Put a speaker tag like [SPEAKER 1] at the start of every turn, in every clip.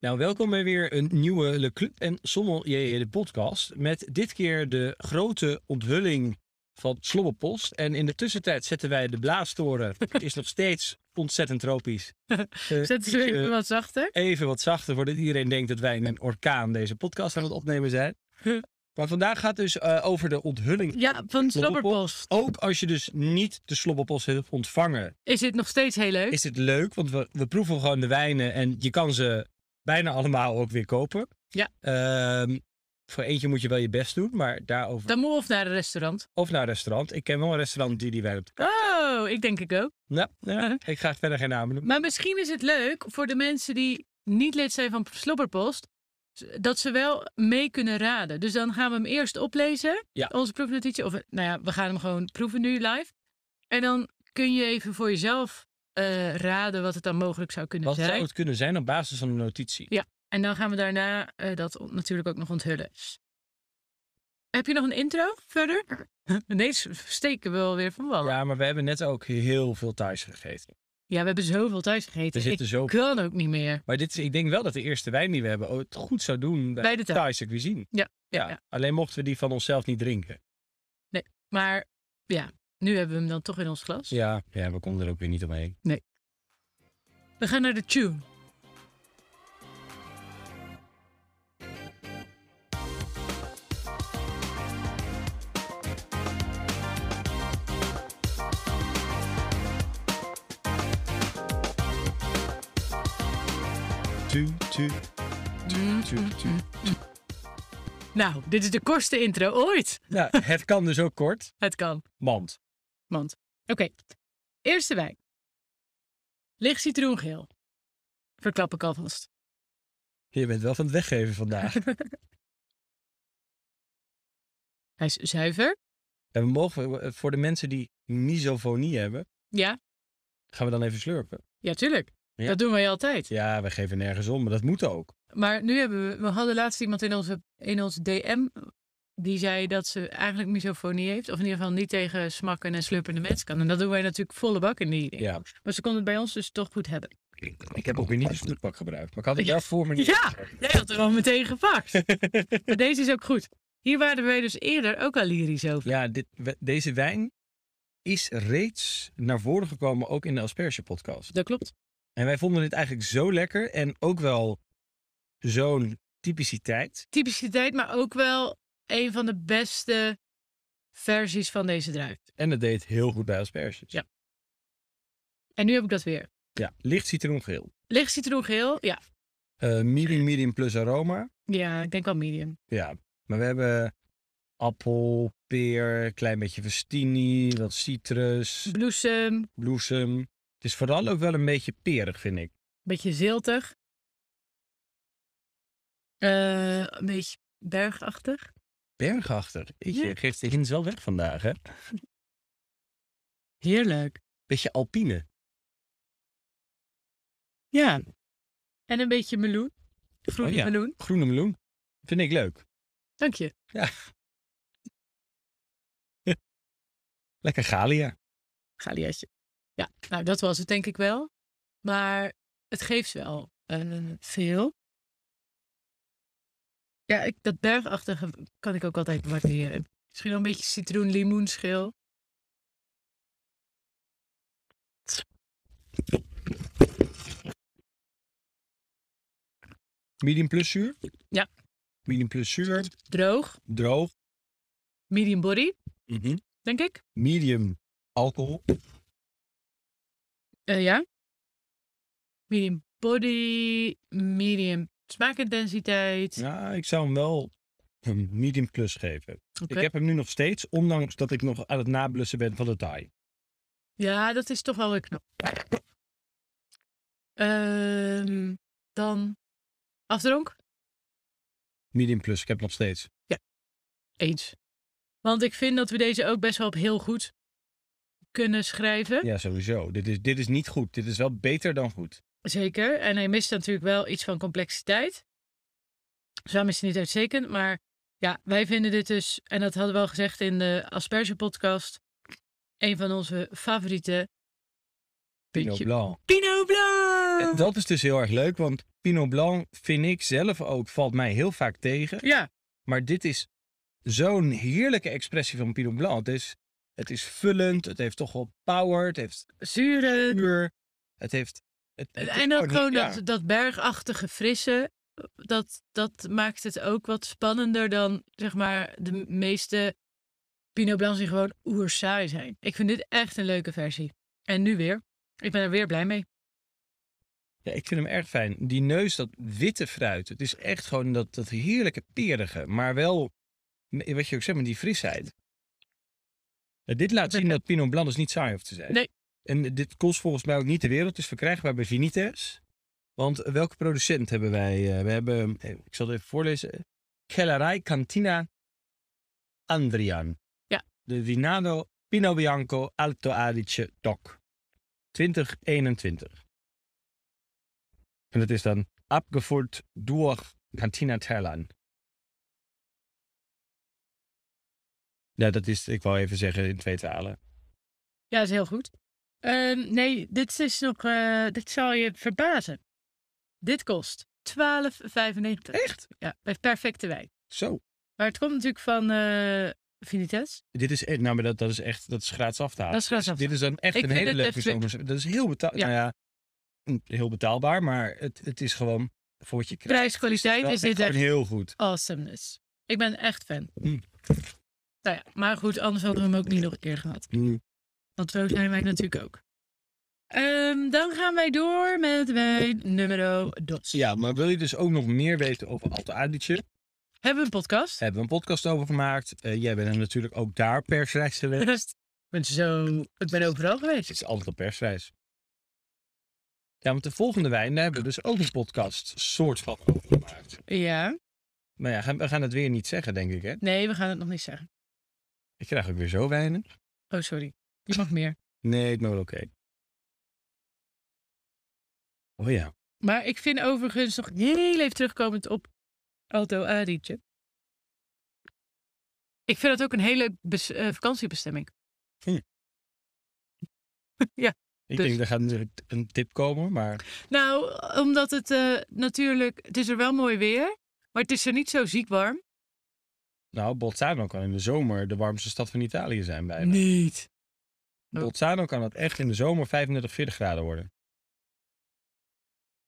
[SPEAKER 1] Nou, welkom bij weer een nieuwe Le Club en Sommelier, de podcast. Met dit keer de grote onthulling van Slobberpost. En in de tussentijd zetten wij de blaastoren. Het is nog steeds ontzettend tropisch. Eh,
[SPEAKER 2] Zet ze
[SPEAKER 1] eh,
[SPEAKER 2] even wat zachter.
[SPEAKER 1] even wat zachter, voordat iedereen denkt dat wij in een orkaan deze podcast aan het opnemen zijn.
[SPEAKER 2] Huh.
[SPEAKER 1] Maar vandaag gaat het dus eh, over de onthulling.
[SPEAKER 2] Ja, van Slobberpost.
[SPEAKER 1] Ook als je dus niet de Slobberpost hebt ontvangen,
[SPEAKER 2] Is dit nog steeds heel leuk?
[SPEAKER 1] is het leuk, want we, we proeven gewoon de wijnen en je kan ze bijna allemaal ook weer kopen.
[SPEAKER 2] Ja.
[SPEAKER 1] Ehm, voor eentje moet je wel je best doen, maar daarover.
[SPEAKER 2] Dan moet of naar een restaurant.
[SPEAKER 1] Of naar een restaurant. Ik ken wel een restaurant die die wijn op.
[SPEAKER 2] Oh, ik denk ik ook. Eh,
[SPEAKER 1] Nou, ja, ik ga verder geen namen noemen.
[SPEAKER 2] Maar misschien is het leuk voor de mensen die niet lid zijn van Slobberpost, dat ze wel mee kunnen raden. Dus dan gaan we hem eerst oplezen,
[SPEAKER 1] Ja.
[SPEAKER 2] onze proefnotitie. Of eh, nou ja, we gaan hem gewoon proeven nu live. En dan kun je even voor jezelf eh, raden wat het dan mogelijk zou kunnen
[SPEAKER 1] Wat
[SPEAKER 2] zijn.
[SPEAKER 1] zou het kunnen zijn op basis van een notitie?
[SPEAKER 2] En dan gaan we daarna eh, dat on- natuurlijk ook nog onthullen. Heb je nog een intro verder? Ineens steken we alweer van wallen. Ja.
[SPEAKER 1] Ja, maar we hebben net ook heel veel thuis gegeten.
[SPEAKER 2] we hebben zoveel thuis
[SPEAKER 1] Er
[SPEAKER 2] gegeten.
[SPEAKER 1] zitten
[SPEAKER 2] ik
[SPEAKER 1] zo.
[SPEAKER 2] kan ook niet meer.
[SPEAKER 1] Maar dit is, ik denk wel dat de eerste wijn die we hebben oh, het goed zou doen bij,
[SPEAKER 2] Bij de tuin.
[SPEAKER 1] Thaise cuisine.
[SPEAKER 2] Ja,
[SPEAKER 1] Ja,
[SPEAKER 2] ja.
[SPEAKER 1] Alleen mochten we die van onszelf niet drinken.
[SPEAKER 2] Maar ja, nu hebben we hem dan toch in ons glas.
[SPEAKER 1] Ja, ja we konden er ook weer niet omheen.
[SPEAKER 2] We gaan naar de tune.
[SPEAKER 1] Tu, tu,
[SPEAKER 2] Mm.
[SPEAKER 1] tu, tu.
[SPEAKER 2] Nou, dit is de kortste intro ooit.
[SPEAKER 1] Nou, het kan dus ook kort.
[SPEAKER 2] Het kan.
[SPEAKER 1] Want
[SPEAKER 2] Mand. Oké. Eerste wijn. Licht citroengeel. Verklap ik alvast.
[SPEAKER 1] je bent wel van het weggeven vandaag.
[SPEAKER 2] Hij is zuiver.
[SPEAKER 1] en we mogen eh, voor de mensen die misofonie hebben,
[SPEAKER 2] Ja,
[SPEAKER 1] gaan we dan even slurpen.
[SPEAKER 2] ja tuurlijk.
[SPEAKER 1] Ja.
[SPEAKER 2] Dat doen wij altijd.
[SPEAKER 1] Ja, we geven nergens om, maar dat moet ook.
[SPEAKER 2] Maar nu hebben we, we hadden laatst iemand in onze, in ons DM die zei dat ze eigenlijk misofonie heeft. Of in ieder geval niet tegen smakken en slurpende mensen kan. En dat doen wij natuurlijk volle bak in die.
[SPEAKER 1] Ja.
[SPEAKER 2] Maar ze kon het bij ons dus toch goed hebben.
[SPEAKER 1] Ik heb ook weer niet de snoeppak gebruikt, maar ik had het wel voor me niet.
[SPEAKER 2] Ja, jij had er al meteen gepakt. maar deze is ook goed. Hier waren wij dus eerder ook al lyrisch over.
[SPEAKER 1] Ja, dit, we- deze wijn is reeds naar voren gekomen, ook in de Asperge podcast.
[SPEAKER 2] Dat klopt.
[SPEAKER 1] En wij vonden dit eigenlijk zo lekker en ook wel zo'n typiciteit.
[SPEAKER 2] Typiciteit, maar ook wel een van de beste versies van deze druif.
[SPEAKER 1] En dat deed heel goed bij asperges.
[SPEAKER 2] Ja. En nu heb ik dat weer.
[SPEAKER 1] ja licht citroengeel.
[SPEAKER 2] Licht citroengeel, ja.
[SPEAKER 1] Eh medium, medium plus aroma.
[SPEAKER 2] Ja, ik denk wel medium.
[SPEAKER 1] Ja, maar we hebben appel, peer, klein beetje festini, wat citrus,
[SPEAKER 2] Bloesem,
[SPEAKER 1] bloesem. Het is vooral ook wel een beetje perig, vind ik.
[SPEAKER 2] beetje ziltig. Eh, een beetje bergachtig.
[SPEAKER 1] Bergachtig. Jeetje,
[SPEAKER 2] Ja.
[SPEAKER 1] geeft de hint wel weg vandaag, hè?
[SPEAKER 2] Heerlijk.
[SPEAKER 1] Beetje alpine.
[SPEAKER 2] Ja. En een beetje meloen. Groene
[SPEAKER 1] Oh ja.
[SPEAKER 2] meloen.
[SPEAKER 1] Groene meloen. Vind ik leuk.
[SPEAKER 2] Dank je.
[SPEAKER 1] Lekker galia.
[SPEAKER 2] Galiatje. Ja, nou dat was het denk ik wel. Maar het geeft wel eh, veel. Ja, ik, dat bergachtige kan ik ook altijd waarderen. Misschien wel een beetje citroen-limoenschil.
[SPEAKER 1] Medium plus zuur.
[SPEAKER 2] Ja.
[SPEAKER 1] Medium plus zuur.
[SPEAKER 2] Droog.
[SPEAKER 1] Droog.
[SPEAKER 2] Medium body, Mhm. denk ik.
[SPEAKER 1] Medium alcohol.
[SPEAKER 2] Eh, ja. Medium body, medium smaakintensiteit.
[SPEAKER 1] Ja, ik zou hem wel een medium plus geven.
[SPEAKER 2] Oké.
[SPEAKER 1] Ik heb hem nu nog steeds, ondanks dat ik nog aan het nablussen ben van de Thai.
[SPEAKER 2] Ja, dat is toch wel weer knap. Ehm, dan afdronk?
[SPEAKER 1] Medium plus, ik heb nog steeds.
[SPEAKER 2] Eens. Want ik vind dat we deze ook best wel op heel goed kunnen schrijven.
[SPEAKER 1] Ja, sowieso. Dit is, dit is niet goed. Dit is wel beter dan goed.
[SPEAKER 2] Zeker. En hij mist natuurlijk wel iets van complexiteit. Dus daarom is hij niet uitstekend. Maar ja, wij vinden dit dus, en dat hadden we al gezegd in de Asperge podcast, een van onze favoriete
[SPEAKER 1] Pinot
[SPEAKER 2] puntje.
[SPEAKER 1] Blanc.
[SPEAKER 2] Pinot Blanc!
[SPEAKER 1] En dat is dus heel erg leuk, want Pinot Blanc vind ik zelf ook, valt mij heel vaak tegen.
[SPEAKER 2] Ja,
[SPEAKER 1] Maar dit is zo'n heerlijke expressie van Pinot Blanc. Het is, het is vullend, het heeft toch wel power, het heeft
[SPEAKER 2] zure.
[SPEAKER 1] puur, het heeft... Het, het-
[SPEAKER 2] En ook
[SPEAKER 1] oh,
[SPEAKER 2] gewoon
[SPEAKER 1] ja.
[SPEAKER 2] dat, dat bergachtige frisse. Dat, dat maakt het ook wat spannender dan zeg maar de meeste Pinot Blancs die gewoon oerzaai zijn. Ik vind dit echt een leuke versie. En nu weer. Ik ben er weer blij mee.
[SPEAKER 1] Ja, ik vind hem erg fijn. Die neus, dat witte fruit. Het is echt gewoon dat, dat heerlijke perige. Maar wel, m- wat je ook zegt, maar die frisheid. Ja, dit laat zien dat Pinot Blanc dus niet saai hoeft te zijn.
[SPEAKER 2] Nee.
[SPEAKER 1] En dit kost volgens mij ook niet de wereld. Het is verkrijgbaar bij Vinites. Want eh, welke producent hebben wij? Eh, We hebben, eh, ik zal het even voorlezen. Kellerij Cantina Andrian.
[SPEAKER 2] Ja.
[SPEAKER 1] De Vinado Pinot Bianco Alto Adige DOC. 2021. En dat is dan abgevoerd door Cantina Terlan. Ja, dat is, ik wou even zeggen, in twee talen.
[SPEAKER 2] Ja, is heel goed. Ehm, nee, dit is nog. eh, dit zal je verbazen. Dit kost 12,95.
[SPEAKER 1] Echt?
[SPEAKER 2] Ja, bij perfecte wijn.
[SPEAKER 1] Zo.
[SPEAKER 2] Maar het komt natuurlijk van eh Vinites.
[SPEAKER 1] Dit is echt, nou, maar dat, dat is echt, dat is gratis af te halen.
[SPEAKER 2] Dat is gratis af te
[SPEAKER 1] Dit is dan echt
[SPEAKER 2] Ik
[SPEAKER 1] een
[SPEAKER 2] vind
[SPEAKER 1] hele
[SPEAKER 2] het
[SPEAKER 1] leuke
[SPEAKER 2] echt-
[SPEAKER 1] zomer. Dat is heel betaalbaar.
[SPEAKER 2] Ja.
[SPEAKER 1] Nou ja, mm, heel betaalbaar, maar het, het is gewoon voor wat je krijgt.
[SPEAKER 2] Prijs-kwaliteit
[SPEAKER 1] Wel
[SPEAKER 2] is dit
[SPEAKER 1] echt
[SPEAKER 2] echt
[SPEAKER 1] gewoon heel goed.
[SPEAKER 2] awesomeness. Ik ben echt fan.
[SPEAKER 1] Mm.
[SPEAKER 2] Nou ja, maar goed, anders hadden we hem ook niet nog een keer gehad.
[SPEAKER 1] Mm.
[SPEAKER 2] Want zo zijn wij natuurlijk ook. Ehm, dan gaan wij door met wijn nummer dos.
[SPEAKER 1] Ja, maar wil je dus ook nog meer weten over Alto Adige?
[SPEAKER 2] Hebben we een podcast?
[SPEAKER 1] Hebben we een podcast over gemaakt. Eh, jij bent er natuurlijk ook daar persreis geweest.
[SPEAKER 2] Eh, Ik ben zo... Ik ben overal geweest.
[SPEAKER 1] Het is altijd een perswijs. Ja, want de volgende wijn, daar hebben we dus ook een podcast soort van over gemaakt.
[SPEAKER 2] Ja.
[SPEAKER 1] Maar ja, we gaan het weer niet zeggen, denk ik, hè?
[SPEAKER 2] Nee, we gaan het nog niet zeggen.
[SPEAKER 1] Ik krijg ook weer zo weinig.
[SPEAKER 2] Oh, sorry. Je mag meer.
[SPEAKER 1] Nee, het is wel oké. Oh ja.
[SPEAKER 2] Maar ik vind overigens nog heel even terugkomend op Alto Adige. Ik vind dat ook een hele bes- eh, vakantiebestemming.
[SPEAKER 1] Ik
[SPEAKER 2] Dus-
[SPEAKER 1] denk, er gaat natuurlijk een tip komen, maar...
[SPEAKER 2] Nou, omdat het eh, natuurlijk... Het is er wel mooi weer, maar het is er niet zo ziek warm.
[SPEAKER 1] Nou, Bolzano kan in de zomer de warmste stad van Italië zijn bijna.
[SPEAKER 2] Niet. Oh.
[SPEAKER 1] Bolzano kan het echt in de zomer 35, 40 graden worden.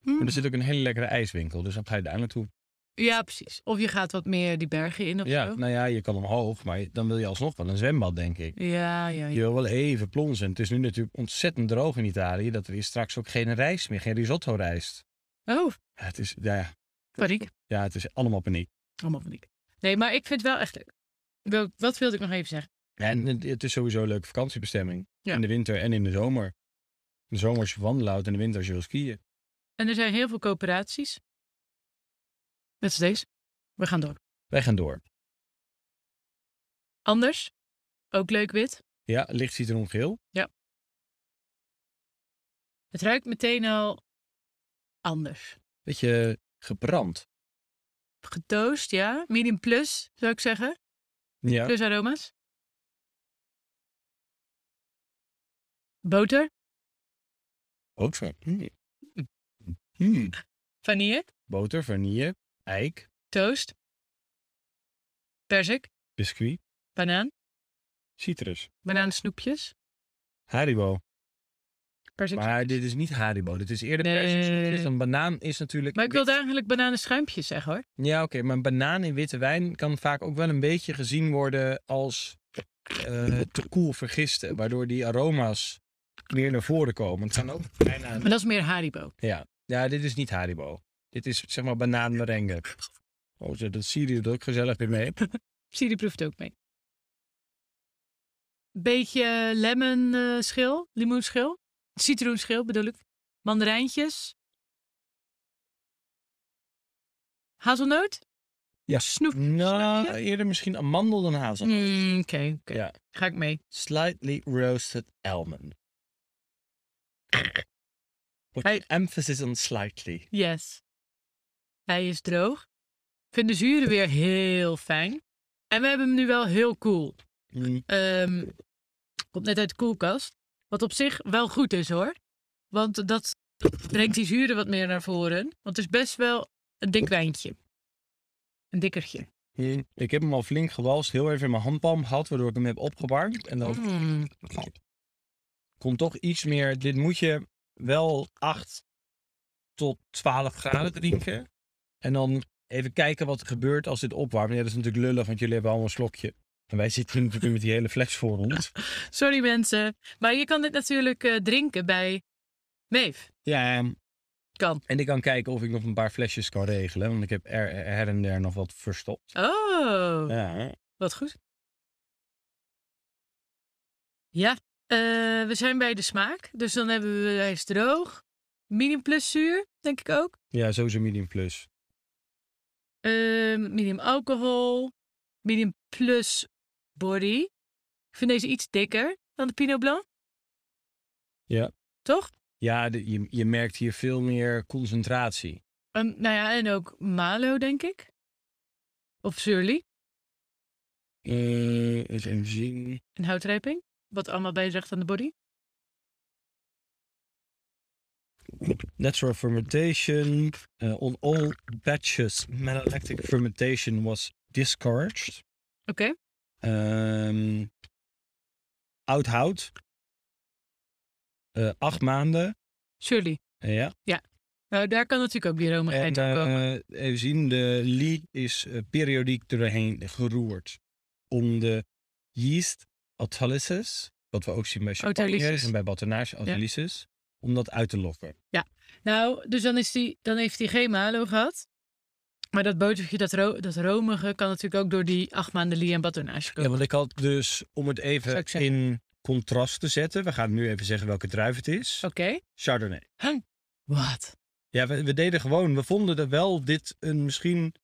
[SPEAKER 2] Hm?
[SPEAKER 1] Maar
[SPEAKER 2] Mm.
[SPEAKER 1] er zit ook een hele lekkere ijswinkel, dus dan ga je daar naartoe.
[SPEAKER 2] Ja, precies. Of je gaat wat meer die bergen in of
[SPEAKER 1] Ja,
[SPEAKER 2] zo.
[SPEAKER 1] nou ja, je kan omhoog, maar dan wil je alsnog wel een zwembad, denk ik.
[SPEAKER 2] Ja, ja, ja.
[SPEAKER 1] Je wil wel even plonzen. Het is nu natuurlijk ontzettend droog in Italië dat er hier straks ook geen rijst meer, geen risotto rijst.
[SPEAKER 2] Oh,
[SPEAKER 1] Ja, het is, ja,
[SPEAKER 2] paniek.
[SPEAKER 1] ja, het is allemaal paniek.
[SPEAKER 2] Allemaal paniek. Nee, maar ik vind het wel echt leuk. Wel- Wat wilde ik nog even zeggen?
[SPEAKER 1] En het- het is sowieso een leuke vakantiebestemming.
[SPEAKER 2] Ja.
[SPEAKER 1] In de winter en in de zomer. In de zomer als je wandelt en in de winter als je wil skiën.
[SPEAKER 2] En er zijn heel veel coöperaties. Net als deze. We gaan door.
[SPEAKER 1] Wij gaan door.
[SPEAKER 2] Anders, ook leuk wit.
[SPEAKER 1] Ja, licht citroen geel.
[SPEAKER 2] Het ruikt meteen al anders.
[SPEAKER 1] Beetje gebrand.
[SPEAKER 2] Getoost, ja. Medium plus, zou ik zeggen.
[SPEAKER 1] Ja.
[SPEAKER 2] Plus Dus aroma's. Boter,
[SPEAKER 1] Ook zo. Mm.
[SPEAKER 2] Hm.
[SPEAKER 1] Mm.
[SPEAKER 2] vanille,
[SPEAKER 1] Boter, vanille, eik,
[SPEAKER 2] toast, perzik,
[SPEAKER 1] biscuit,
[SPEAKER 2] banaan,
[SPEAKER 1] citrus.
[SPEAKER 2] banaansnoepjes,
[SPEAKER 1] Haribo.
[SPEAKER 2] perzik. Maar,
[SPEAKER 1] Maar dit is niet Haribo. Dit is eerder
[SPEAKER 2] Nee,
[SPEAKER 1] perzik.
[SPEAKER 2] nee, nee, nee,
[SPEAKER 1] Dus
[SPEAKER 2] nee.
[SPEAKER 1] Een banaan is natuurlijk...
[SPEAKER 2] ik wilde eigenlijk bananenschuimpjes zeggen hoor.
[SPEAKER 1] Ja, oké, maar een banaan in witte wijn kan vaak ook wel een beetje gezien worden als eh, te koel vergisten, waardoor die aroma's meer naar voren komen. Het kan ook bijna.
[SPEAKER 2] Maar dat is meer Haribo.
[SPEAKER 1] Ja. ja, dit is niet Haribo. Dit is zeg maar banaanmerengue. Oh, zo, dat Siri doet ook gezellig weer mee.
[SPEAKER 2] Siri proeft ook mee. Beetje lemon eh, schil, limoenschil, citroenschil bedoel ik. Mandarijntjes. Hazelnoot?
[SPEAKER 1] Ja.
[SPEAKER 2] Snoep.
[SPEAKER 1] Nou, eerder misschien amandel dan hazel.
[SPEAKER 2] Mm, Oké, oké.
[SPEAKER 1] Ja.
[SPEAKER 2] Ga ik mee.
[SPEAKER 1] Slightly roasted almond. With
[SPEAKER 2] Hey.
[SPEAKER 1] emphasis on slightly.
[SPEAKER 2] Yes. Hij is droog. Ik vind de zuren weer heel fijn. En we hebben hem nu wel heel cool.
[SPEAKER 1] Mm,
[SPEAKER 2] Ehm, komt net uit de koelkast. Wat op zich wel goed is hoor. Want dat brengt die zuren wat meer naar voren. Want het is best wel een dik wijntje. Een dikkertje.
[SPEAKER 1] Ik heb hem al flink gewalst, heel even in mijn handpalm gehad, waardoor ik hem heb opgewarmd. En dan
[SPEAKER 2] Mm.
[SPEAKER 1] komt toch iets meer. Dit moet je wel 8 tot 12 graden drinken. En dan even kijken wat er gebeurt als dit opwarmt. Ja, dat is natuurlijk lullig, want jullie hebben allemaal een slokje. En wij zitten natuurlijk met die hele fles voor ons.
[SPEAKER 2] Sorry mensen. Maar je kan dit natuurlijk eh, drinken bij Meef.
[SPEAKER 1] Ja, ehm,
[SPEAKER 2] Kan.
[SPEAKER 1] En ik kan kijken of ik nog een paar flesjes kan regelen. Want ik heb er, her en der nog wat verstopt.
[SPEAKER 2] Oh,
[SPEAKER 1] Ja.
[SPEAKER 2] wat goed. Ja, eh, we zijn bij de smaak. Dus dan hebben we, hij is droog. Medium plus zuur, denk ik ook.
[SPEAKER 1] ja, sowieso medium plus.
[SPEAKER 2] Ehm, medium alcohol. Medium plus body. Ik vind deze iets dikker dan de Pinot Blanc.
[SPEAKER 1] Ja.
[SPEAKER 2] Toch?
[SPEAKER 1] Ja, de- je, je merkt hier veel meer concentratie.
[SPEAKER 2] Ehm, nou ja, en ook Malo, denk ik. Of Surly,
[SPEAKER 1] Eh, eens even zien.
[SPEAKER 2] een houtrijping. Wat allemaal bijdraagt aan de body.
[SPEAKER 1] Natural fermentation eh, on all batches. Malolactic fermentation was discouraged.
[SPEAKER 2] Oké.
[SPEAKER 1] Ehm oud hout. Eh, acht maanden.
[SPEAKER 2] Surly.
[SPEAKER 1] Ja.
[SPEAKER 2] Nou, daar kan natuurlijk ook die romigheid
[SPEAKER 1] En,
[SPEAKER 2] op komen.
[SPEAKER 1] eh, eh, even zien, de Lee is eh, periodiek doorheen geroerd om de yeast autolysis, wat we ook zien bij champagne
[SPEAKER 2] Autolysis.
[SPEAKER 1] en bij batonnage autolysis, om dat uit te lokken.
[SPEAKER 2] Nou, dus dan, is die, dan heeft hij geen malo gehad. Maar dat botertje, dat, ro dat romige, kan natuurlijk ook door die acht maanden lie en batonnage
[SPEAKER 1] Ja,
[SPEAKER 2] komen.
[SPEAKER 1] want ik had dus, om het
[SPEAKER 2] Zou
[SPEAKER 1] even
[SPEAKER 2] ik zeggen.
[SPEAKER 1] in contrast te zetten, we gaan nu even zeggen welke druif het is.
[SPEAKER 2] Oké.
[SPEAKER 1] Chardonnay.
[SPEAKER 2] Wat?
[SPEAKER 1] Ja, we, we deden gewoon, we vonden er wel dit een, misschien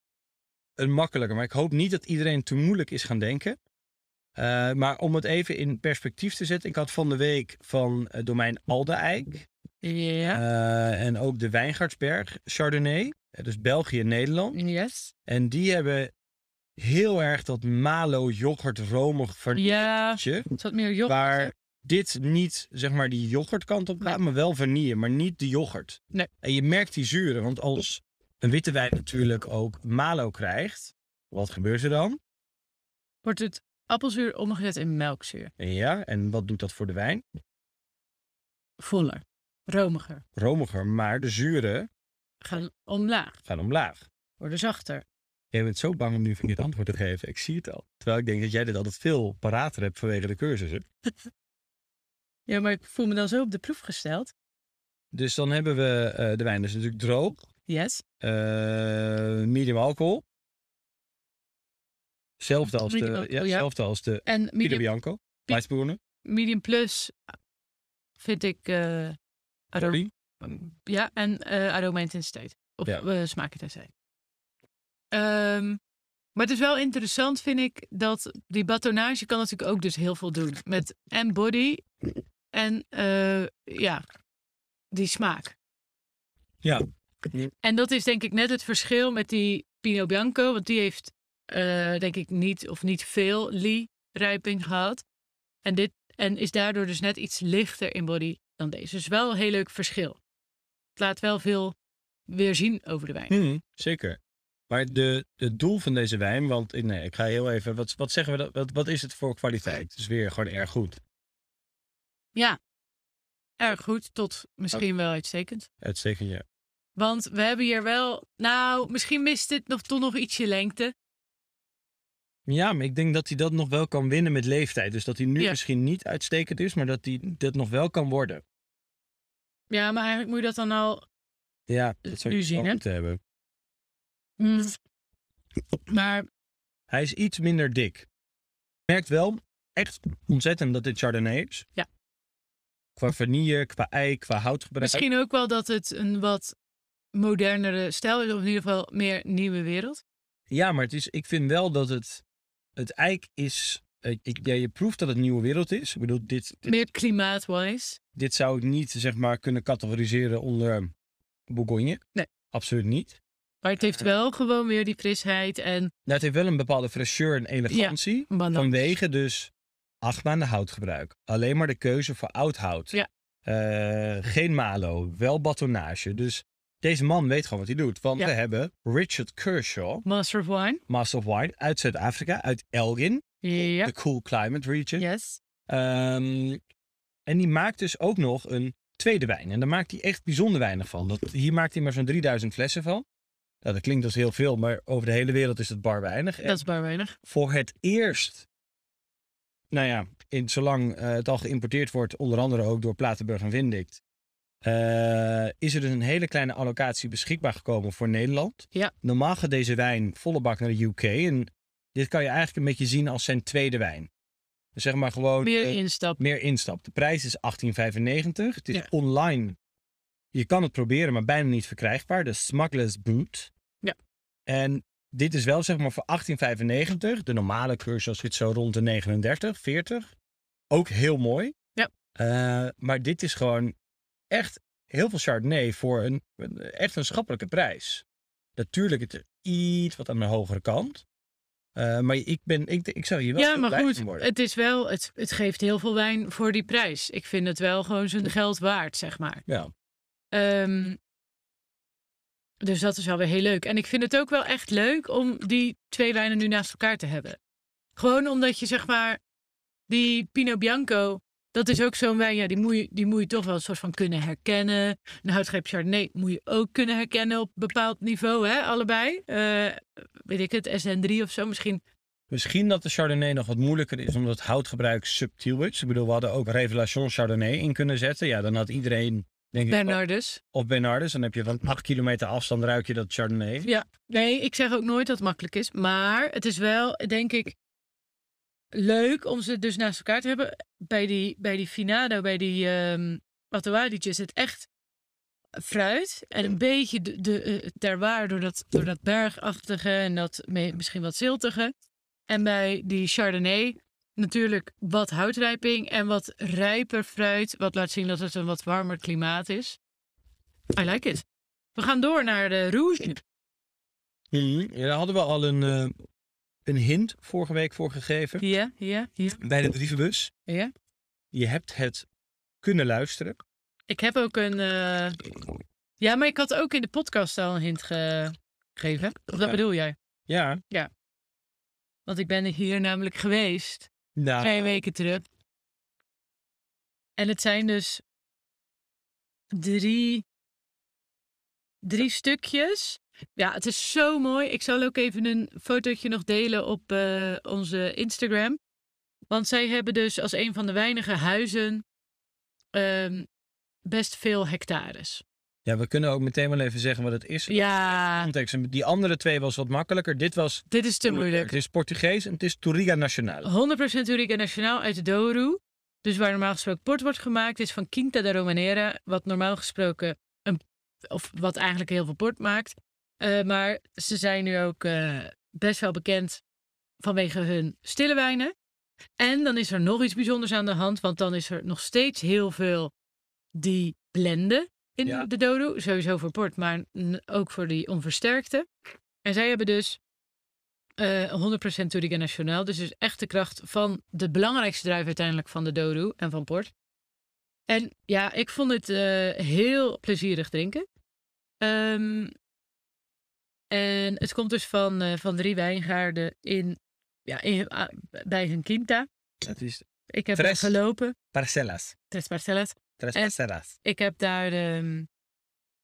[SPEAKER 1] een makkelijker. Maar ik hoop niet dat iedereen te moeilijk is gaan denken. Eh, maar om het even in perspectief te zetten, ik had van de week van eh, domein Aldeijk
[SPEAKER 2] Ja.
[SPEAKER 1] eh, en ook de Wijngaardsberg Chardonnay, eh, dus België en Nederland.
[SPEAKER 2] yes.
[SPEAKER 1] En die hebben heel erg dat malo yoghurt romig
[SPEAKER 2] Ja, het
[SPEAKER 1] vanilletje,
[SPEAKER 2] zat meer joch.
[SPEAKER 1] waar dit niet zeg maar die yoghurtkant op gaat, maar wel vanille, maar niet de yoghurt.
[SPEAKER 2] Nee.
[SPEAKER 1] En je merkt die zuren, want als een witte wijn natuurlijk ook malo krijgt, wat gebeurt er dan?
[SPEAKER 2] Wordt het appelzuur omgezet in melkzuur.
[SPEAKER 1] Ja, en wat doet dat voor de wijn?
[SPEAKER 2] Voller. Romiger.
[SPEAKER 1] romiger, maar de zuren
[SPEAKER 2] Gaan omlaag.
[SPEAKER 1] gaan omlaag.
[SPEAKER 2] Worden zachter.
[SPEAKER 1] Jij bent zo bang om nu verkeerd antwoord te geven. Ik zie het al. Terwijl ik denk dat jij dit altijd veel parater hebt vanwege de cursussen.
[SPEAKER 2] Ja, maar ik voel me dan zo op de proef gesteld.
[SPEAKER 1] Dus dan hebben we eh, de wijn dus natuurlijk droog,
[SPEAKER 2] Yes.
[SPEAKER 1] eh, medium alcohol. Hetzelfde als,
[SPEAKER 2] Medium
[SPEAKER 1] de-
[SPEAKER 2] alcohol,
[SPEAKER 1] ja,
[SPEAKER 2] ja.
[SPEAKER 1] zelfde als de
[SPEAKER 2] En
[SPEAKER 1] Pinot
[SPEAKER 2] medium,
[SPEAKER 1] Bianco. Weissboeren.
[SPEAKER 2] medium plus vind ik eh arom-
[SPEAKER 1] Body.
[SPEAKER 2] Ja, en eh aroma intensiteit. Of
[SPEAKER 1] Ja.
[SPEAKER 2] eh, smaakintensiteit. Ehm, maar het is wel interessant, vind ik, dat die batonnage kan natuurlijk ook dus heel veel doen. Met en body en eh, ja, die smaak.
[SPEAKER 1] Ja.
[SPEAKER 2] En dat is denk ik net het verschil met die Pinot Bianco. Want die heeft eh, denk ik niet of niet veel Lee-rijping gehad. En, dit, en is daardoor dus net iets lichter in body dan deze. Dus wel een heel leuk verschil. Het laat wel veel weer zien over de wijn.
[SPEAKER 1] Hmm, zeker. Maar de, het doel van deze wijn, want eh, nee, ik ga heel even, wat, wat zeggen we, dat, wat, wat is het voor kwaliteit? Het is weer gewoon erg goed.
[SPEAKER 2] Erg goed, tot misschien wel uitstekend.
[SPEAKER 1] Uitstekend, ja.
[SPEAKER 2] Want we hebben hier wel, nou, misschien mist dit nog, toch nog ietsje lengte.
[SPEAKER 1] Ja, maar ik denk dat hij dat nog wel kan winnen met leeftijd. Dus dat hij nu
[SPEAKER 2] Ja.
[SPEAKER 1] misschien niet uitstekend is, maar dat hij dat nog wel kan worden.
[SPEAKER 2] Ja, maar eigenlijk moet je dat dan al.
[SPEAKER 1] Ja,
[SPEAKER 2] dat zou Nu ik zien, wel hè?
[SPEAKER 1] te hebben.
[SPEAKER 2] Mm. Maar
[SPEAKER 1] Hij is iets minder dik. Je merkt wel echt ontzettend dat dit Chardonnay is.
[SPEAKER 2] Ja.
[SPEAKER 1] Qua vanille, qua ei, qua houtgebruik.
[SPEAKER 2] misschien ook wel dat het een wat modernere stijl is, of in ieder geval meer nieuwe wereld.
[SPEAKER 1] Ja, maar het is, ik vind wel dat het... Het eik is... eh, ik, ja, je proeft dat het een nieuwe wereld is. Ik bedoel, dit, dit,
[SPEAKER 2] Meer klimaatwise.
[SPEAKER 1] dit zou ik niet zeg maar, kunnen categoriseren onder eh, Bourgogne.
[SPEAKER 2] Nee.
[SPEAKER 1] Absoluut niet.
[SPEAKER 2] Maar het heeft wel gewoon weer die frisheid en
[SPEAKER 1] Nou, het heeft wel een bepaalde fraîcheur en elegantie.
[SPEAKER 2] balans.
[SPEAKER 1] Vanwege dus acht maanden houtgebruik. Alleen maar de keuze voor oud hout.
[SPEAKER 2] Ja.
[SPEAKER 1] Eh, geen malo, wel batonnage. Dus deze man weet gewoon wat hij doet. Want
[SPEAKER 2] Ja.
[SPEAKER 1] we hebben Richard Kershaw,
[SPEAKER 2] Master of Wine.
[SPEAKER 1] Master of Wine, uit Zuid-Afrika, uit Elgin,
[SPEAKER 2] Ja.
[SPEAKER 1] de Cool Climate Region.
[SPEAKER 2] Yes.
[SPEAKER 1] Ehm, en die maakt dus ook nog een tweede wijn. En daar maakt hij echt bijzonder weinig van. Dat, hier maakt hij maar zo'n 3000 flessen van. Nou, dat klinkt als heel veel, maar over de hele wereld is dat bar weinig. En
[SPEAKER 2] Dat is bar weinig.
[SPEAKER 1] voor het eerst, nou ja, in, zolang eh, het al geïmporteerd wordt, onder andere ook door Platenburg en Windict, eh, is er dus een hele kleine allocatie beschikbaar gekomen voor Nederland.
[SPEAKER 2] Ja.
[SPEAKER 1] Normaal gaat deze wijn volle bak naar de UK en dit kan je eigenlijk een beetje zien als zijn tweede wijn. Dus zeg maar gewoon
[SPEAKER 2] Meer
[SPEAKER 1] eh,
[SPEAKER 2] instap.
[SPEAKER 1] meer instap. De prijs is 18,95. Het is
[SPEAKER 2] Ja.
[SPEAKER 1] online. Je kan het proberen, maar bijna niet verkrijgbaar. De Smuggler's Boot.
[SPEAKER 2] Ja.
[SPEAKER 1] En dit is wel zeg maar voor 18,95. De normale cursus zit zo rond de 39, 40. Ook heel mooi.
[SPEAKER 2] Ja.
[SPEAKER 1] Eh, maar dit is gewoon echt heel veel Chardonnay voor een, echt een schappelijke prijs. Natuurlijk, het is iets wat aan de hogere kant. Eh, maar ik, ben, ik, ik zou hier wel
[SPEAKER 2] Ja,
[SPEAKER 1] heel
[SPEAKER 2] maar
[SPEAKER 1] blij
[SPEAKER 2] goed.
[SPEAKER 1] van worden.
[SPEAKER 2] Het is wel, het, het geeft heel veel wijn voor die prijs. Ik vind het wel gewoon zijn geld waard, zeg maar.
[SPEAKER 1] Ja.
[SPEAKER 2] Ehm, dus dat is wel weer heel leuk. En ik vind het ook wel echt leuk om die twee lijnen nu naast elkaar te hebben. Gewoon omdat je zeg maar, die Pinot Bianco, dat is ook zo'n wijn, ja, die moet, je, die moet je toch wel een soort van kunnen herkennen. Een houtgreep Chardonnay moet je ook kunnen herkennen op een bepaald niveau, hè, allebei. Eh, weet ik het, SN3 of zo misschien.
[SPEAKER 1] Misschien dat de Chardonnay nog wat moeilijker is, omdat het houtgebruik subtiel is. Ik bedoel, we hadden ook Revelation Chardonnay in kunnen zetten. Ja, dan had iedereen, denk ik,
[SPEAKER 2] Bernardus.
[SPEAKER 1] of Bernardus. Dan heb je van 8 kilometer afstand ruik je dat Chardonnay.
[SPEAKER 2] Ja, nee, ik zeg ook nooit dat het makkelijk is. Maar het is wel, denk ik, leuk om ze dus naast elkaar te hebben. Bij die, bij die Finado, bij die ehm Atawadietje zit echt fruit. En een beetje de, de, eh, terroir door dat, door dat bergachtige en dat me- misschien wat ziltige. En bij die Chardonnay natuurlijk wat houtrijping en wat rijper fruit. Wat laat zien dat het een wat warmer klimaat is. I like it. We gaan door naar de Rouge.
[SPEAKER 1] Mhm. Ja, daar hadden we al een, eh, een hint vorige week voor gegeven.
[SPEAKER 2] Ja, ja, ja.
[SPEAKER 1] Bij de brievenbus.
[SPEAKER 2] Ja.
[SPEAKER 1] Je hebt het kunnen luisteren.
[SPEAKER 2] Ik heb ook een. eh, Ja, maar ik had ook in de podcast al een hint ge- gegeven. Of dat
[SPEAKER 1] Ja.
[SPEAKER 2] bedoel jij?
[SPEAKER 1] Ja.
[SPEAKER 2] Want ik ben hier namelijk geweest.
[SPEAKER 1] Nou,
[SPEAKER 2] Twee weken terug. En het zijn dus. Drie. Drie stukjes. Ja, het is zo mooi. Ik zal ook even een fotootje nog delen op eh, onze Instagram. Want zij hebben dus als een van de weinige huizen ehm, best veel hectares.
[SPEAKER 1] ja, we kunnen ook meteen wel even zeggen wat het is.
[SPEAKER 2] Ja,
[SPEAKER 1] Context. En Die andere twee was wat makkelijker. Dit was
[SPEAKER 2] dit is te
[SPEAKER 1] Het
[SPEAKER 2] moeilijk. Oh.
[SPEAKER 1] is Portugees en het is Touriga Nacional.
[SPEAKER 2] 100% Urica Nationaal uit de Douro. Dus waar normaal gesproken port wordt gemaakt, is van Quinta da Romanera. Wat normaal gesproken, een, of wat eigenlijk heel veel port maakt. Eh, maar ze zijn nu ook eh, best wel bekend vanwege hun stille wijnen. En dan is er nog iets bijzonders aan de hand, want dan is er nog steeds heel veel die blenden in
[SPEAKER 1] Ja.
[SPEAKER 2] de Dodo. Sowieso voor port, maar n- ook voor die onversterkte. En zij hebben dus eh 100% Touriga Nationaal. Dus dus echt de kracht van de belangrijkste druif uiteindelijk van de Dodo en van port. En ja, ik vond het eh, heel plezierig drinken. Ehm, en het komt dus van, eh, van drie wijngaarden in, ja, in, ah, bij hun quinta.
[SPEAKER 1] Dat is
[SPEAKER 2] Ik heb
[SPEAKER 1] Tres.
[SPEAKER 2] gelopen.
[SPEAKER 1] Parcelas.
[SPEAKER 2] Tres Parcelas.
[SPEAKER 1] Tres
[SPEAKER 2] En-
[SPEAKER 1] Parcelas.
[SPEAKER 2] Ik heb daar, ehm,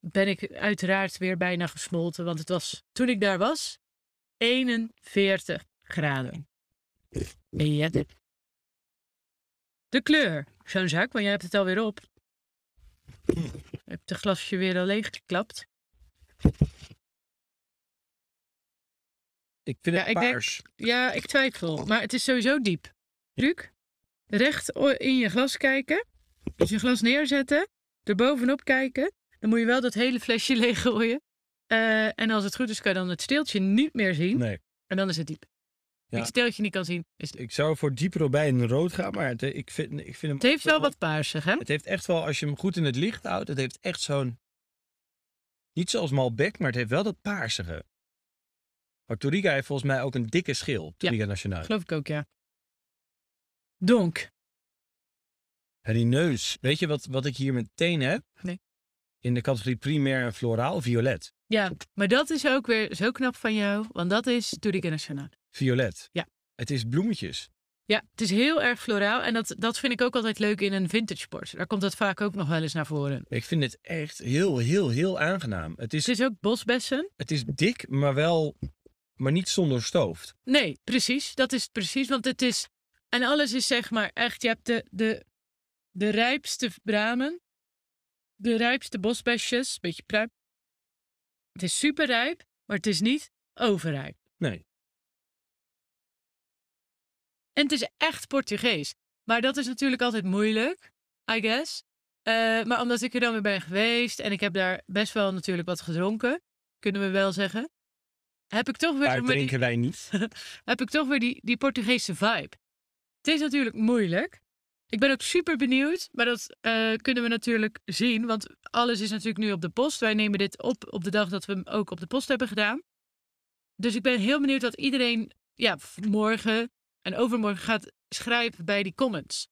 [SPEAKER 2] ben ik uiteraard weer bijna gesmolten. Want het was, toen ik daar was, 41 graden. Ja. De kleur, Jean-Jacques, want jij hebt het alweer op. Je hebt het glasje weer al leeggeklapt.
[SPEAKER 1] Ik vind
[SPEAKER 2] Ja,
[SPEAKER 1] het
[SPEAKER 2] ik denk-
[SPEAKER 1] paars.
[SPEAKER 2] Ja, ik twijfel. Maar het is sowieso diep. Truc. Recht o- in je glas kijken. Dus je glas neerzetten. Erbovenop kijken. Dan moet je wel dat hele flesje leeggooien. Eh, en als het goed is, kan je dan het steeltje niet meer zien.
[SPEAKER 1] Nee.
[SPEAKER 2] En dan is het diep.
[SPEAKER 1] Ja.
[SPEAKER 2] Als je het steeltje niet kan zien, is het diep.
[SPEAKER 1] Ik zou voor dieper robijn rood gaan, maar het, ik, vind, ik vind hem...
[SPEAKER 2] Het heeft wel wat paarsig, hè?
[SPEAKER 1] Het heeft echt wel, als je hem goed in het licht houdt, het heeft echt zo'n... Niet zoals Malbec, maar het heeft wel dat paarsige. Maar Touriga heeft volgens mij ook een dikke schil. Touriga Nationaal.
[SPEAKER 2] Geloof ik ook, ja. Donk.
[SPEAKER 1] En die neus. Weet je wat, wat ik hier meteen heb?
[SPEAKER 2] Nee.
[SPEAKER 1] In de categorie primair en floraal, violet.
[SPEAKER 2] Ja, maar dat is ook weer zo knap van jou, want dat is Tourique Nationale.
[SPEAKER 1] Violet.
[SPEAKER 2] Ja.
[SPEAKER 1] Het is bloemetjes.
[SPEAKER 2] Ja, het is heel erg floraal en dat, dat vind ik ook altijd leuk in een vintage sport. Daar komt dat vaak ook nog wel eens naar voren.
[SPEAKER 1] Ik vind het echt heel, heel, heel aangenaam. Het
[SPEAKER 2] Het
[SPEAKER 1] is,
[SPEAKER 2] is ook bosbessen.
[SPEAKER 1] het is dik, maar wel, maar niet zonder stoofd.
[SPEAKER 2] Nee, precies. Dat is het precies, want het is... En alles is zeg maar echt, je hebt de, de, de rijpste bramen, de rijpste bosbesjes, beetje pruim. Het is super rijp, maar het is niet overrijp.
[SPEAKER 1] Nee.
[SPEAKER 2] En het is echt Portugees. Maar dat is natuurlijk altijd moeilijk, I guess. Eh, maar omdat ik er dan weer ben geweest en ik heb daar best wel natuurlijk wat gedronken, kunnen we wel zeggen, heb ik toch weer...
[SPEAKER 1] Daar
[SPEAKER 2] maar die-
[SPEAKER 1] drinken wij niet.
[SPEAKER 2] heb ik toch weer die, die Portugese vibe. Het is natuurlijk moeilijk. Ik ben ook super benieuwd, maar dat eh, kunnen we natuurlijk zien. Want alles is natuurlijk nu op de post. Wij nemen dit op op de dag dat we hem ook op de post hebben gedaan. Dus ik ben heel benieuwd wat iedereen ja, v- morgen en overmorgen gaat schrijven bij die comments.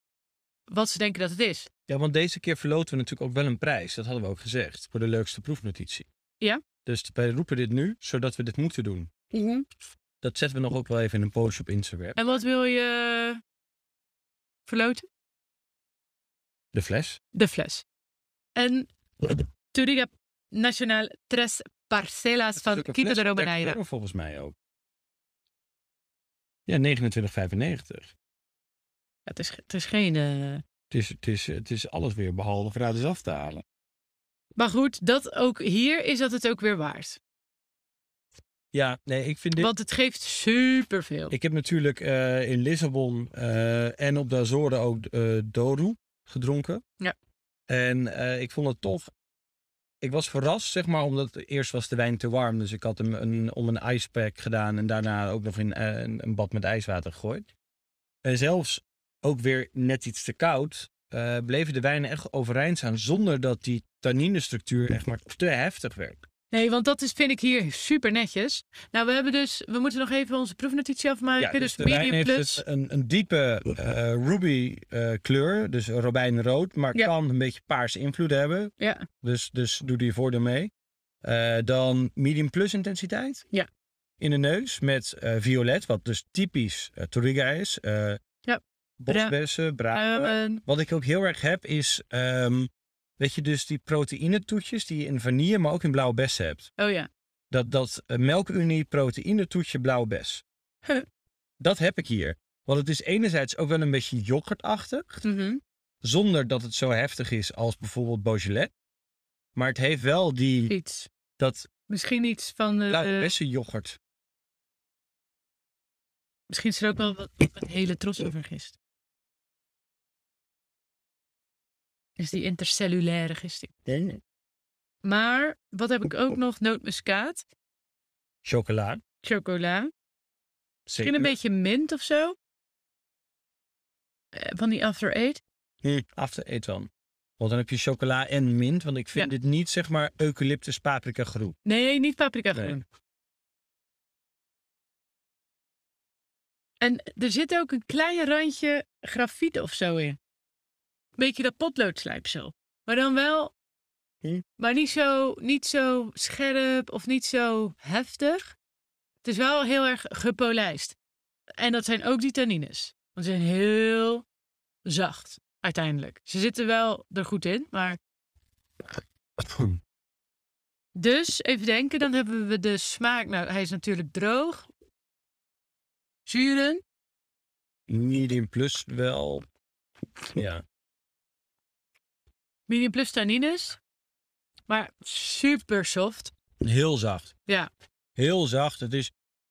[SPEAKER 2] Wat ze denken dat het is.
[SPEAKER 1] Ja, want deze keer verloten we natuurlijk ook wel een prijs. Dat hadden we ook gezegd. Voor de leukste proefnotitie.
[SPEAKER 2] Ja.
[SPEAKER 1] Dus wij roepen dit nu, zodat we dit moeten doen. Dat zetten we nog ook wel even in een post op Instagram.
[SPEAKER 2] En wat wil je verloten?
[SPEAKER 1] De fles.
[SPEAKER 2] de fles. En Turiga Nacional Tres Parcelas van
[SPEAKER 1] Stukken
[SPEAKER 2] Quito de
[SPEAKER 1] fles,
[SPEAKER 2] Romaneira.
[SPEAKER 1] €30 volgens mij ook. Ja, 29,95.
[SPEAKER 2] Het is, het is geen... eh,
[SPEAKER 1] Het is, het, is, het is alles weer behalve gratis af te halen.
[SPEAKER 2] Maar goed, dat ook hier is dat het ook weer waard.
[SPEAKER 1] Ja, nee, ik vind dit...
[SPEAKER 2] Want het geeft superveel.
[SPEAKER 1] Ik heb natuurlijk eh, in Lissabon eh, en op de Azoren ook eh Doru gedronken.
[SPEAKER 2] Ja.
[SPEAKER 1] En eh, ik vond het tof. Ik was verrast, zeg maar, omdat eerst was de wijn te warm. Dus ik had hem een, om een icepack gedaan en daarna ook nog in eh, een, een bad met ijswater gegooid. En zelfs ook weer net iets te koud, eh, bleven de wijnen echt overeind staan. Zonder dat die tanninestructuur echt maar te heftig werd.
[SPEAKER 2] Nee, want dat is, vind ik hier super netjes. Nou, we hebben dus... We moeten nog even onze proefnotitie afmaken. dus
[SPEAKER 1] de wijn
[SPEAKER 2] medium
[SPEAKER 1] heeft
[SPEAKER 2] plus.
[SPEAKER 1] dus een, een diepe eh, ruby eh, kleur, dus robijnrood, maar
[SPEAKER 2] Ja.
[SPEAKER 1] kan een beetje paarse invloed hebben.
[SPEAKER 2] Ja.
[SPEAKER 1] Dus, dus doe die voordeel mee. Eh, dan medium plus intensiteit
[SPEAKER 2] Ja.
[SPEAKER 1] in de neus met eh, violet, wat dus typisch eh Toriga is. eh
[SPEAKER 2] Ja.
[SPEAKER 1] Bosbessen, bramen.
[SPEAKER 2] Ehm,
[SPEAKER 1] Wat ik ook heel erg heb is, ehm, weet je, dus die proteïnetoetjes die je in vanille, maar ook in blauwe bessen hebt.
[SPEAKER 2] oh ja.
[SPEAKER 1] Dat, dat eh, melkunie, proteïne, toetje, blauwe bes.
[SPEAKER 2] Huh.
[SPEAKER 1] Dat heb ik hier. Want het is enerzijds ook wel een beetje yoghurtachtig.
[SPEAKER 2] Mhm.
[SPEAKER 1] Zonder dat het zo heftig is als bijvoorbeeld Beaujolais. Maar het heeft wel die,
[SPEAKER 2] Iets.
[SPEAKER 1] dat
[SPEAKER 2] Misschien iets van... eh, de-
[SPEAKER 1] blauwe
[SPEAKER 2] de-
[SPEAKER 1] bessen yoghurt.
[SPEAKER 2] misschien is er ook wel wat een hele trots over gist. Is die intercellulaire gisting. Maar wat heb ik ook nog? Nootmuskaat,
[SPEAKER 1] Chocola.
[SPEAKER 2] chocola,
[SPEAKER 1] Zeker.
[SPEAKER 2] misschien een beetje mint of zo. Eh, Van die After Eight.
[SPEAKER 1] Hm, After eet dan. Want dan heb je chocola en mint. Want ik vind dit niet zeg maar eucalyptus paprika groep.
[SPEAKER 2] Nee, niet paprika
[SPEAKER 1] Nee.
[SPEAKER 2] groen. En er zit ook een klein randje grafiet of zo in. Beetje dat potloodslijpsel. Maar dan wel,
[SPEAKER 1] Hm.
[SPEAKER 2] maar niet zo, niet zo scherp of niet zo heftig. Het is wel heel erg gepolijst. En dat zijn ook die tannines. Want ze zijn heel zacht, uiteindelijk. Ze zitten wel er goed in, maar... Dus, even denken, dan hebben we de smaak. Nou, hij is natuurlijk droog. Zuren.
[SPEAKER 1] Medium plus wel. Ja.
[SPEAKER 2] Medium plus tannines. Maar super soft.
[SPEAKER 1] Heel zacht.
[SPEAKER 2] Ja.
[SPEAKER 1] Heel zacht. Het is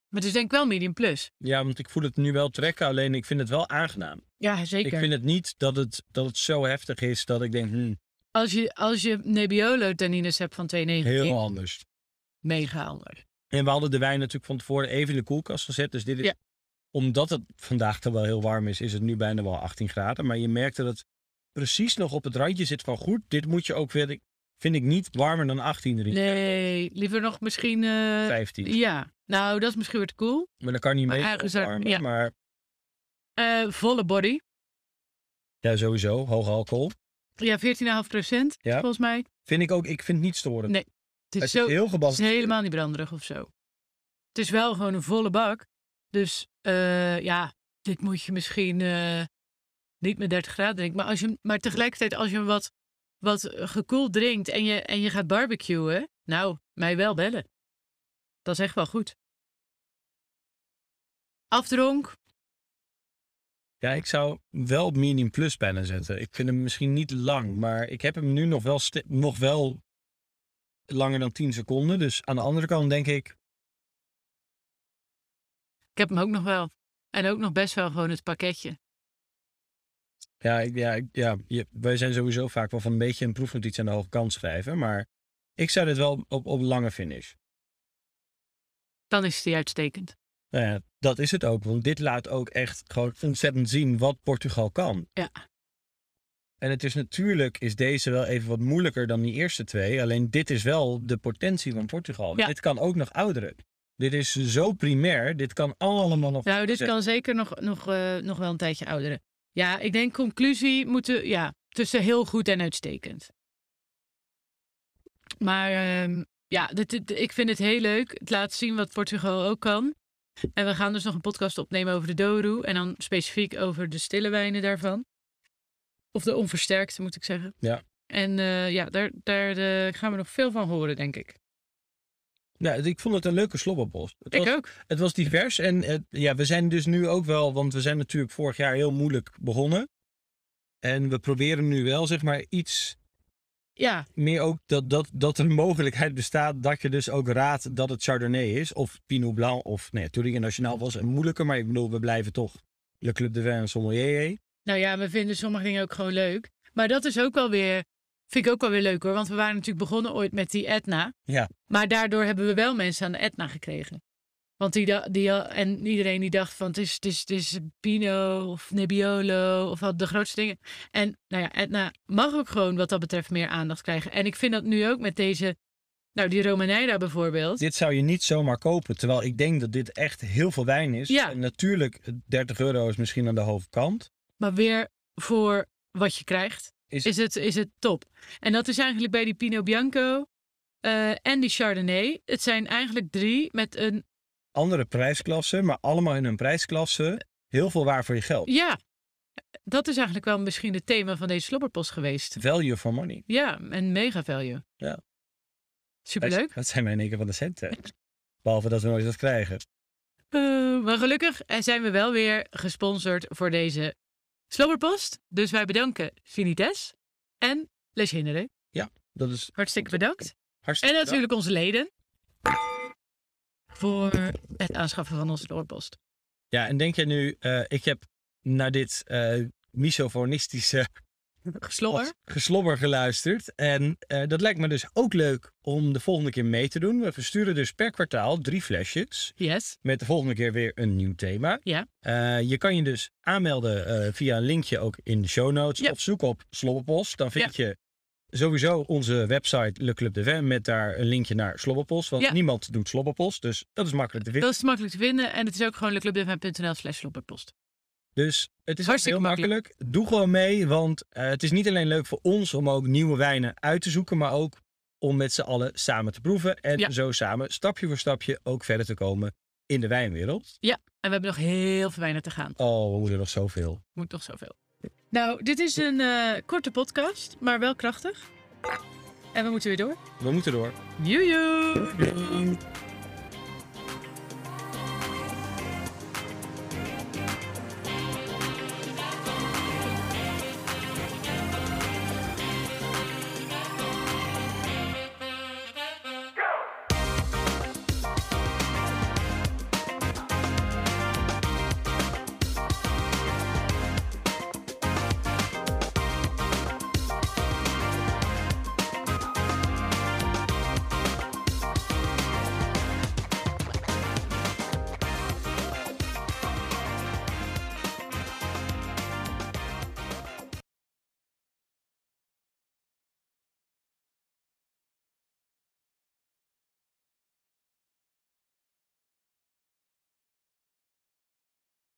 [SPEAKER 2] Maar het is denk ik wel medium plus.
[SPEAKER 1] Ja, want ik voel het nu wel trekken, alleen ik vind het wel aangenaam.
[SPEAKER 2] Ja, zeker.
[SPEAKER 1] Ik vind het niet dat het, dat het zo heftig is dat ik denk, hm,
[SPEAKER 2] Als, je, als je Nebbiolo tannines hebt van 2,19,
[SPEAKER 1] heel anders.
[SPEAKER 2] mega anders.
[SPEAKER 1] En we hadden de wijn natuurlijk van tevoren even in de koelkast gezet. Dus dit is,
[SPEAKER 2] Ja.
[SPEAKER 1] omdat het vandaag toch wel heel warm is, is het nu bijna wel 18 graden. Maar je merkt dat het precies nog op het randje zit van goed. Dit moet je ook weer, vind ik niet warmer dan 18, drie-
[SPEAKER 2] Nee, liever nog misschien... eh,
[SPEAKER 1] 15.
[SPEAKER 2] ja, nou, dat is misschien weer te cool.
[SPEAKER 1] Maar dan kan je niet
[SPEAKER 2] Maar
[SPEAKER 1] mee
[SPEAKER 2] eigenlijk zou-
[SPEAKER 1] opwarmen.
[SPEAKER 2] ja.
[SPEAKER 1] Maar
[SPEAKER 2] Eh, volle body.
[SPEAKER 1] Ja, sowieso. Hoog alcohol.
[SPEAKER 2] Ja, 14,5 procent
[SPEAKER 1] Ja.
[SPEAKER 2] volgens mij.
[SPEAKER 1] Vind ik ook, ik vind het niet storend.
[SPEAKER 2] Nee, Het
[SPEAKER 1] het
[SPEAKER 2] is,
[SPEAKER 1] is
[SPEAKER 2] zo, het
[SPEAKER 1] heel
[SPEAKER 2] is
[SPEAKER 1] gebaseerd.
[SPEAKER 2] helemaal niet branderig of zo. Het is wel gewoon een volle bak. Dus eh, ja, dit moet je misschien eh, niet met 30 graden drinken. Maar, als je, hem- maar tegelijkertijd, als je hem wat, wat gekoeld drinkt en je, en je gaat barbecuen, nou, mij wel bellen. Dat is echt wel goed. Afdronk,
[SPEAKER 1] Ja, ik zou wel medium plus bijna zetten. Ik vind hem misschien niet lang, maar ik heb hem nu nog wel, sti- nog wel langer dan 10 seconden. Dus aan de andere kant denk ik,
[SPEAKER 2] ik heb hem ook nog wel. En ook nog best wel gewoon het pakketje.
[SPEAKER 1] ja, ik- ja, ik- ja je- wij zijn sowieso vaak wel van een beetje een proefnotitie aan de hoge kant schrijven. Maar ik zou dit wel op, op lange finish.
[SPEAKER 2] Dan is die uitstekend.
[SPEAKER 1] Nou ja, dat is het ook, want dit laat ook echt gewoon ontzettend zien wat Portugal kan.
[SPEAKER 2] Ja.
[SPEAKER 1] En het is natuurlijk, is deze wel even wat moeilijker dan die eerste twee. Alleen dit is wel de potentie van Portugal.
[SPEAKER 2] Ja.
[SPEAKER 1] Dit kan ook nog ouderen. Dit is zo primair. Dit kan allemaal nog.
[SPEAKER 2] Nou, dit
[SPEAKER 1] Zeg-
[SPEAKER 2] kan zeker nog, nog, eh, nog wel een tijdje ouderen. Ja, ik denk conclusie moeten, ja, tussen heel goed en uitstekend. Maar ehm, ja, dit, dit- ik vind het heel leuk. Het laat zien wat Portugal ook kan. En we gaan dus nog een podcast opnemen over de Douro. En dan specifiek over de stille wijnen daarvan. Of de onversterkte, moet ik zeggen.
[SPEAKER 1] Ja.
[SPEAKER 2] En eh, ja, daar, daar eh, gaan we nog veel van horen, denk ik.
[SPEAKER 1] Ja, Nou, ik vond het een leuke slobberpost. Het was,
[SPEAKER 2] Ik ook.
[SPEAKER 1] het was divers. En eh, ja, we zijn dus nu ook wel, want we zijn natuurlijk vorig jaar heel moeilijk begonnen. En we proberen nu wel, zeg maar, iets
[SPEAKER 2] Ja,
[SPEAKER 1] meer ook dat, dat, dat er een mogelijkheid bestaat dat je dus ook raadt dat het Chardonnay is. Of Pinot Blanc of nee, Touringen Nationaal was een moeilijke, maar ik bedoel, we blijven toch Le Club de Vin en Sommelier.
[SPEAKER 2] Nou ja, we vinden sommige dingen ook gewoon leuk. Maar dat is ook wel weer, vind ik ook wel weer leuk hoor. Want we waren natuurlijk begonnen ooit met die Etna.
[SPEAKER 1] Ja.
[SPEAKER 2] Maar daardoor hebben we wel mensen aan de Etna gekregen. Want die, da- die, al- en iedereen die dacht van het is, het is, het is Pinot of Nebbiolo of wat de grootste dingen. En nou ja, Etna mag ook gewoon wat dat betreft meer aandacht krijgen. En ik vind dat nu ook met deze, nou die Romaneira bijvoorbeeld.
[SPEAKER 1] Dit zou je niet zomaar kopen, terwijl ik denk dat dit echt heel veel wijn is.
[SPEAKER 2] Ja.
[SPEAKER 1] En natuurlijk, 30 euro is misschien aan de hoofdkant.
[SPEAKER 2] Maar weer voor wat je krijgt,
[SPEAKER 1] Is-
[SPEAKER 2] is, het, is het top. En dat is eigenlijk bij die Pinot Bianco eh, en die Chardonnay. Het zijn eigenlijk drie met een...
[SPEAKER 1] Andere prijsklassen, maar allemaal in hun prijsklasse. Heel veel waar voor je geld.
[SPEAKER 2] Ja, dat is eigenlijk wel misschien het thema van deze slobberpost geweest.
[SPEAKER 1] Value for money.
[SPEAKER 2] Ja, en mega value.
[SPEAKER 1] Ja.
[SPEAKER 2] Superleuk.
[SPEAKER 1] Dat zijn wij in één keer van de centen. Behalve dat we nooit dat krijgen.
[SPEAKER 2] Eh, maar gelukkig eh, zijn we wel weer gesponsord voor deze slobberpost. Dus wij bedanken Finites en Les Généreux.
[SPEAKER 1] Dat is
[SPEAKER 2] Hartstikke bedankt. En
[SPEAKER 1] hartstikke bedankt.
[SPEAKER 2] natuurlijk onze leden. Voor het aanschaffen van onze doorpost.
[SPEAKER 1] Ja, en denk jij nu, eh, ik heb naar dit eh misofonistische
[SPEAKER 2] Geslobber.
[SPEAKER 1] geslobber geluisterd. En eh, dat lijkt me dus ook leuk om de volgende keer mee te doen. We versturen dus per kwartaal drie flesjes.
[SPEAKER 2] Yes.
[SPEAKER 1] Met de volgende keer weer een nieuw thema.
[SPEAKER 2] Ja.
[SPEAKER 1] Eh, je kan je dus aanmelden eh, via een linkje ook in de show notes.
[SPEAKER 2] Ja.
[SPEAKER 1] Of zoek op Slobberpost. Dan vind je sowieso onze website Le Club de Vin met daar een linkje naar Slobberpost. Want
[SPEAKER 2] Ja.
[SPEAKER 1] niemand doet Slobberpost, dus dat is makkelijk te vinden.
[SPEAKER 2] Dat is makkelijk te vinden. En het is ook gewoon leclubdevin.nl slash slobberpost.
[SPEAKER 1] Dus het is
[SPEAKER 2] Hartstikke
[SPEAKER 1] heel makkelijk. Doe gewoon mee, want eh, het is niet alleen leuk voor ons om ook nieuwe wijnen uit te zoeken, maar ook om met z'n allen samen te proeven. En
[SPEAKER 2] Ja.
[SPEAKER 1] zo samen, stapje voor stapje, ook verder te komen in de wijnwereld.
[SPEAKER 2] En we hebben nog heel veel weinig te gaan.
[SPEAKER 1] Oh, we moeten nog zoveel.
[SPEAKER 2] Moet nog zoveel. Nou, dit is een eh, korte podcast, maar wel krachtig. En we moeten weer door.
[SPEAKER 1] We moeten door.
[SPEAKER 2] Joejoe!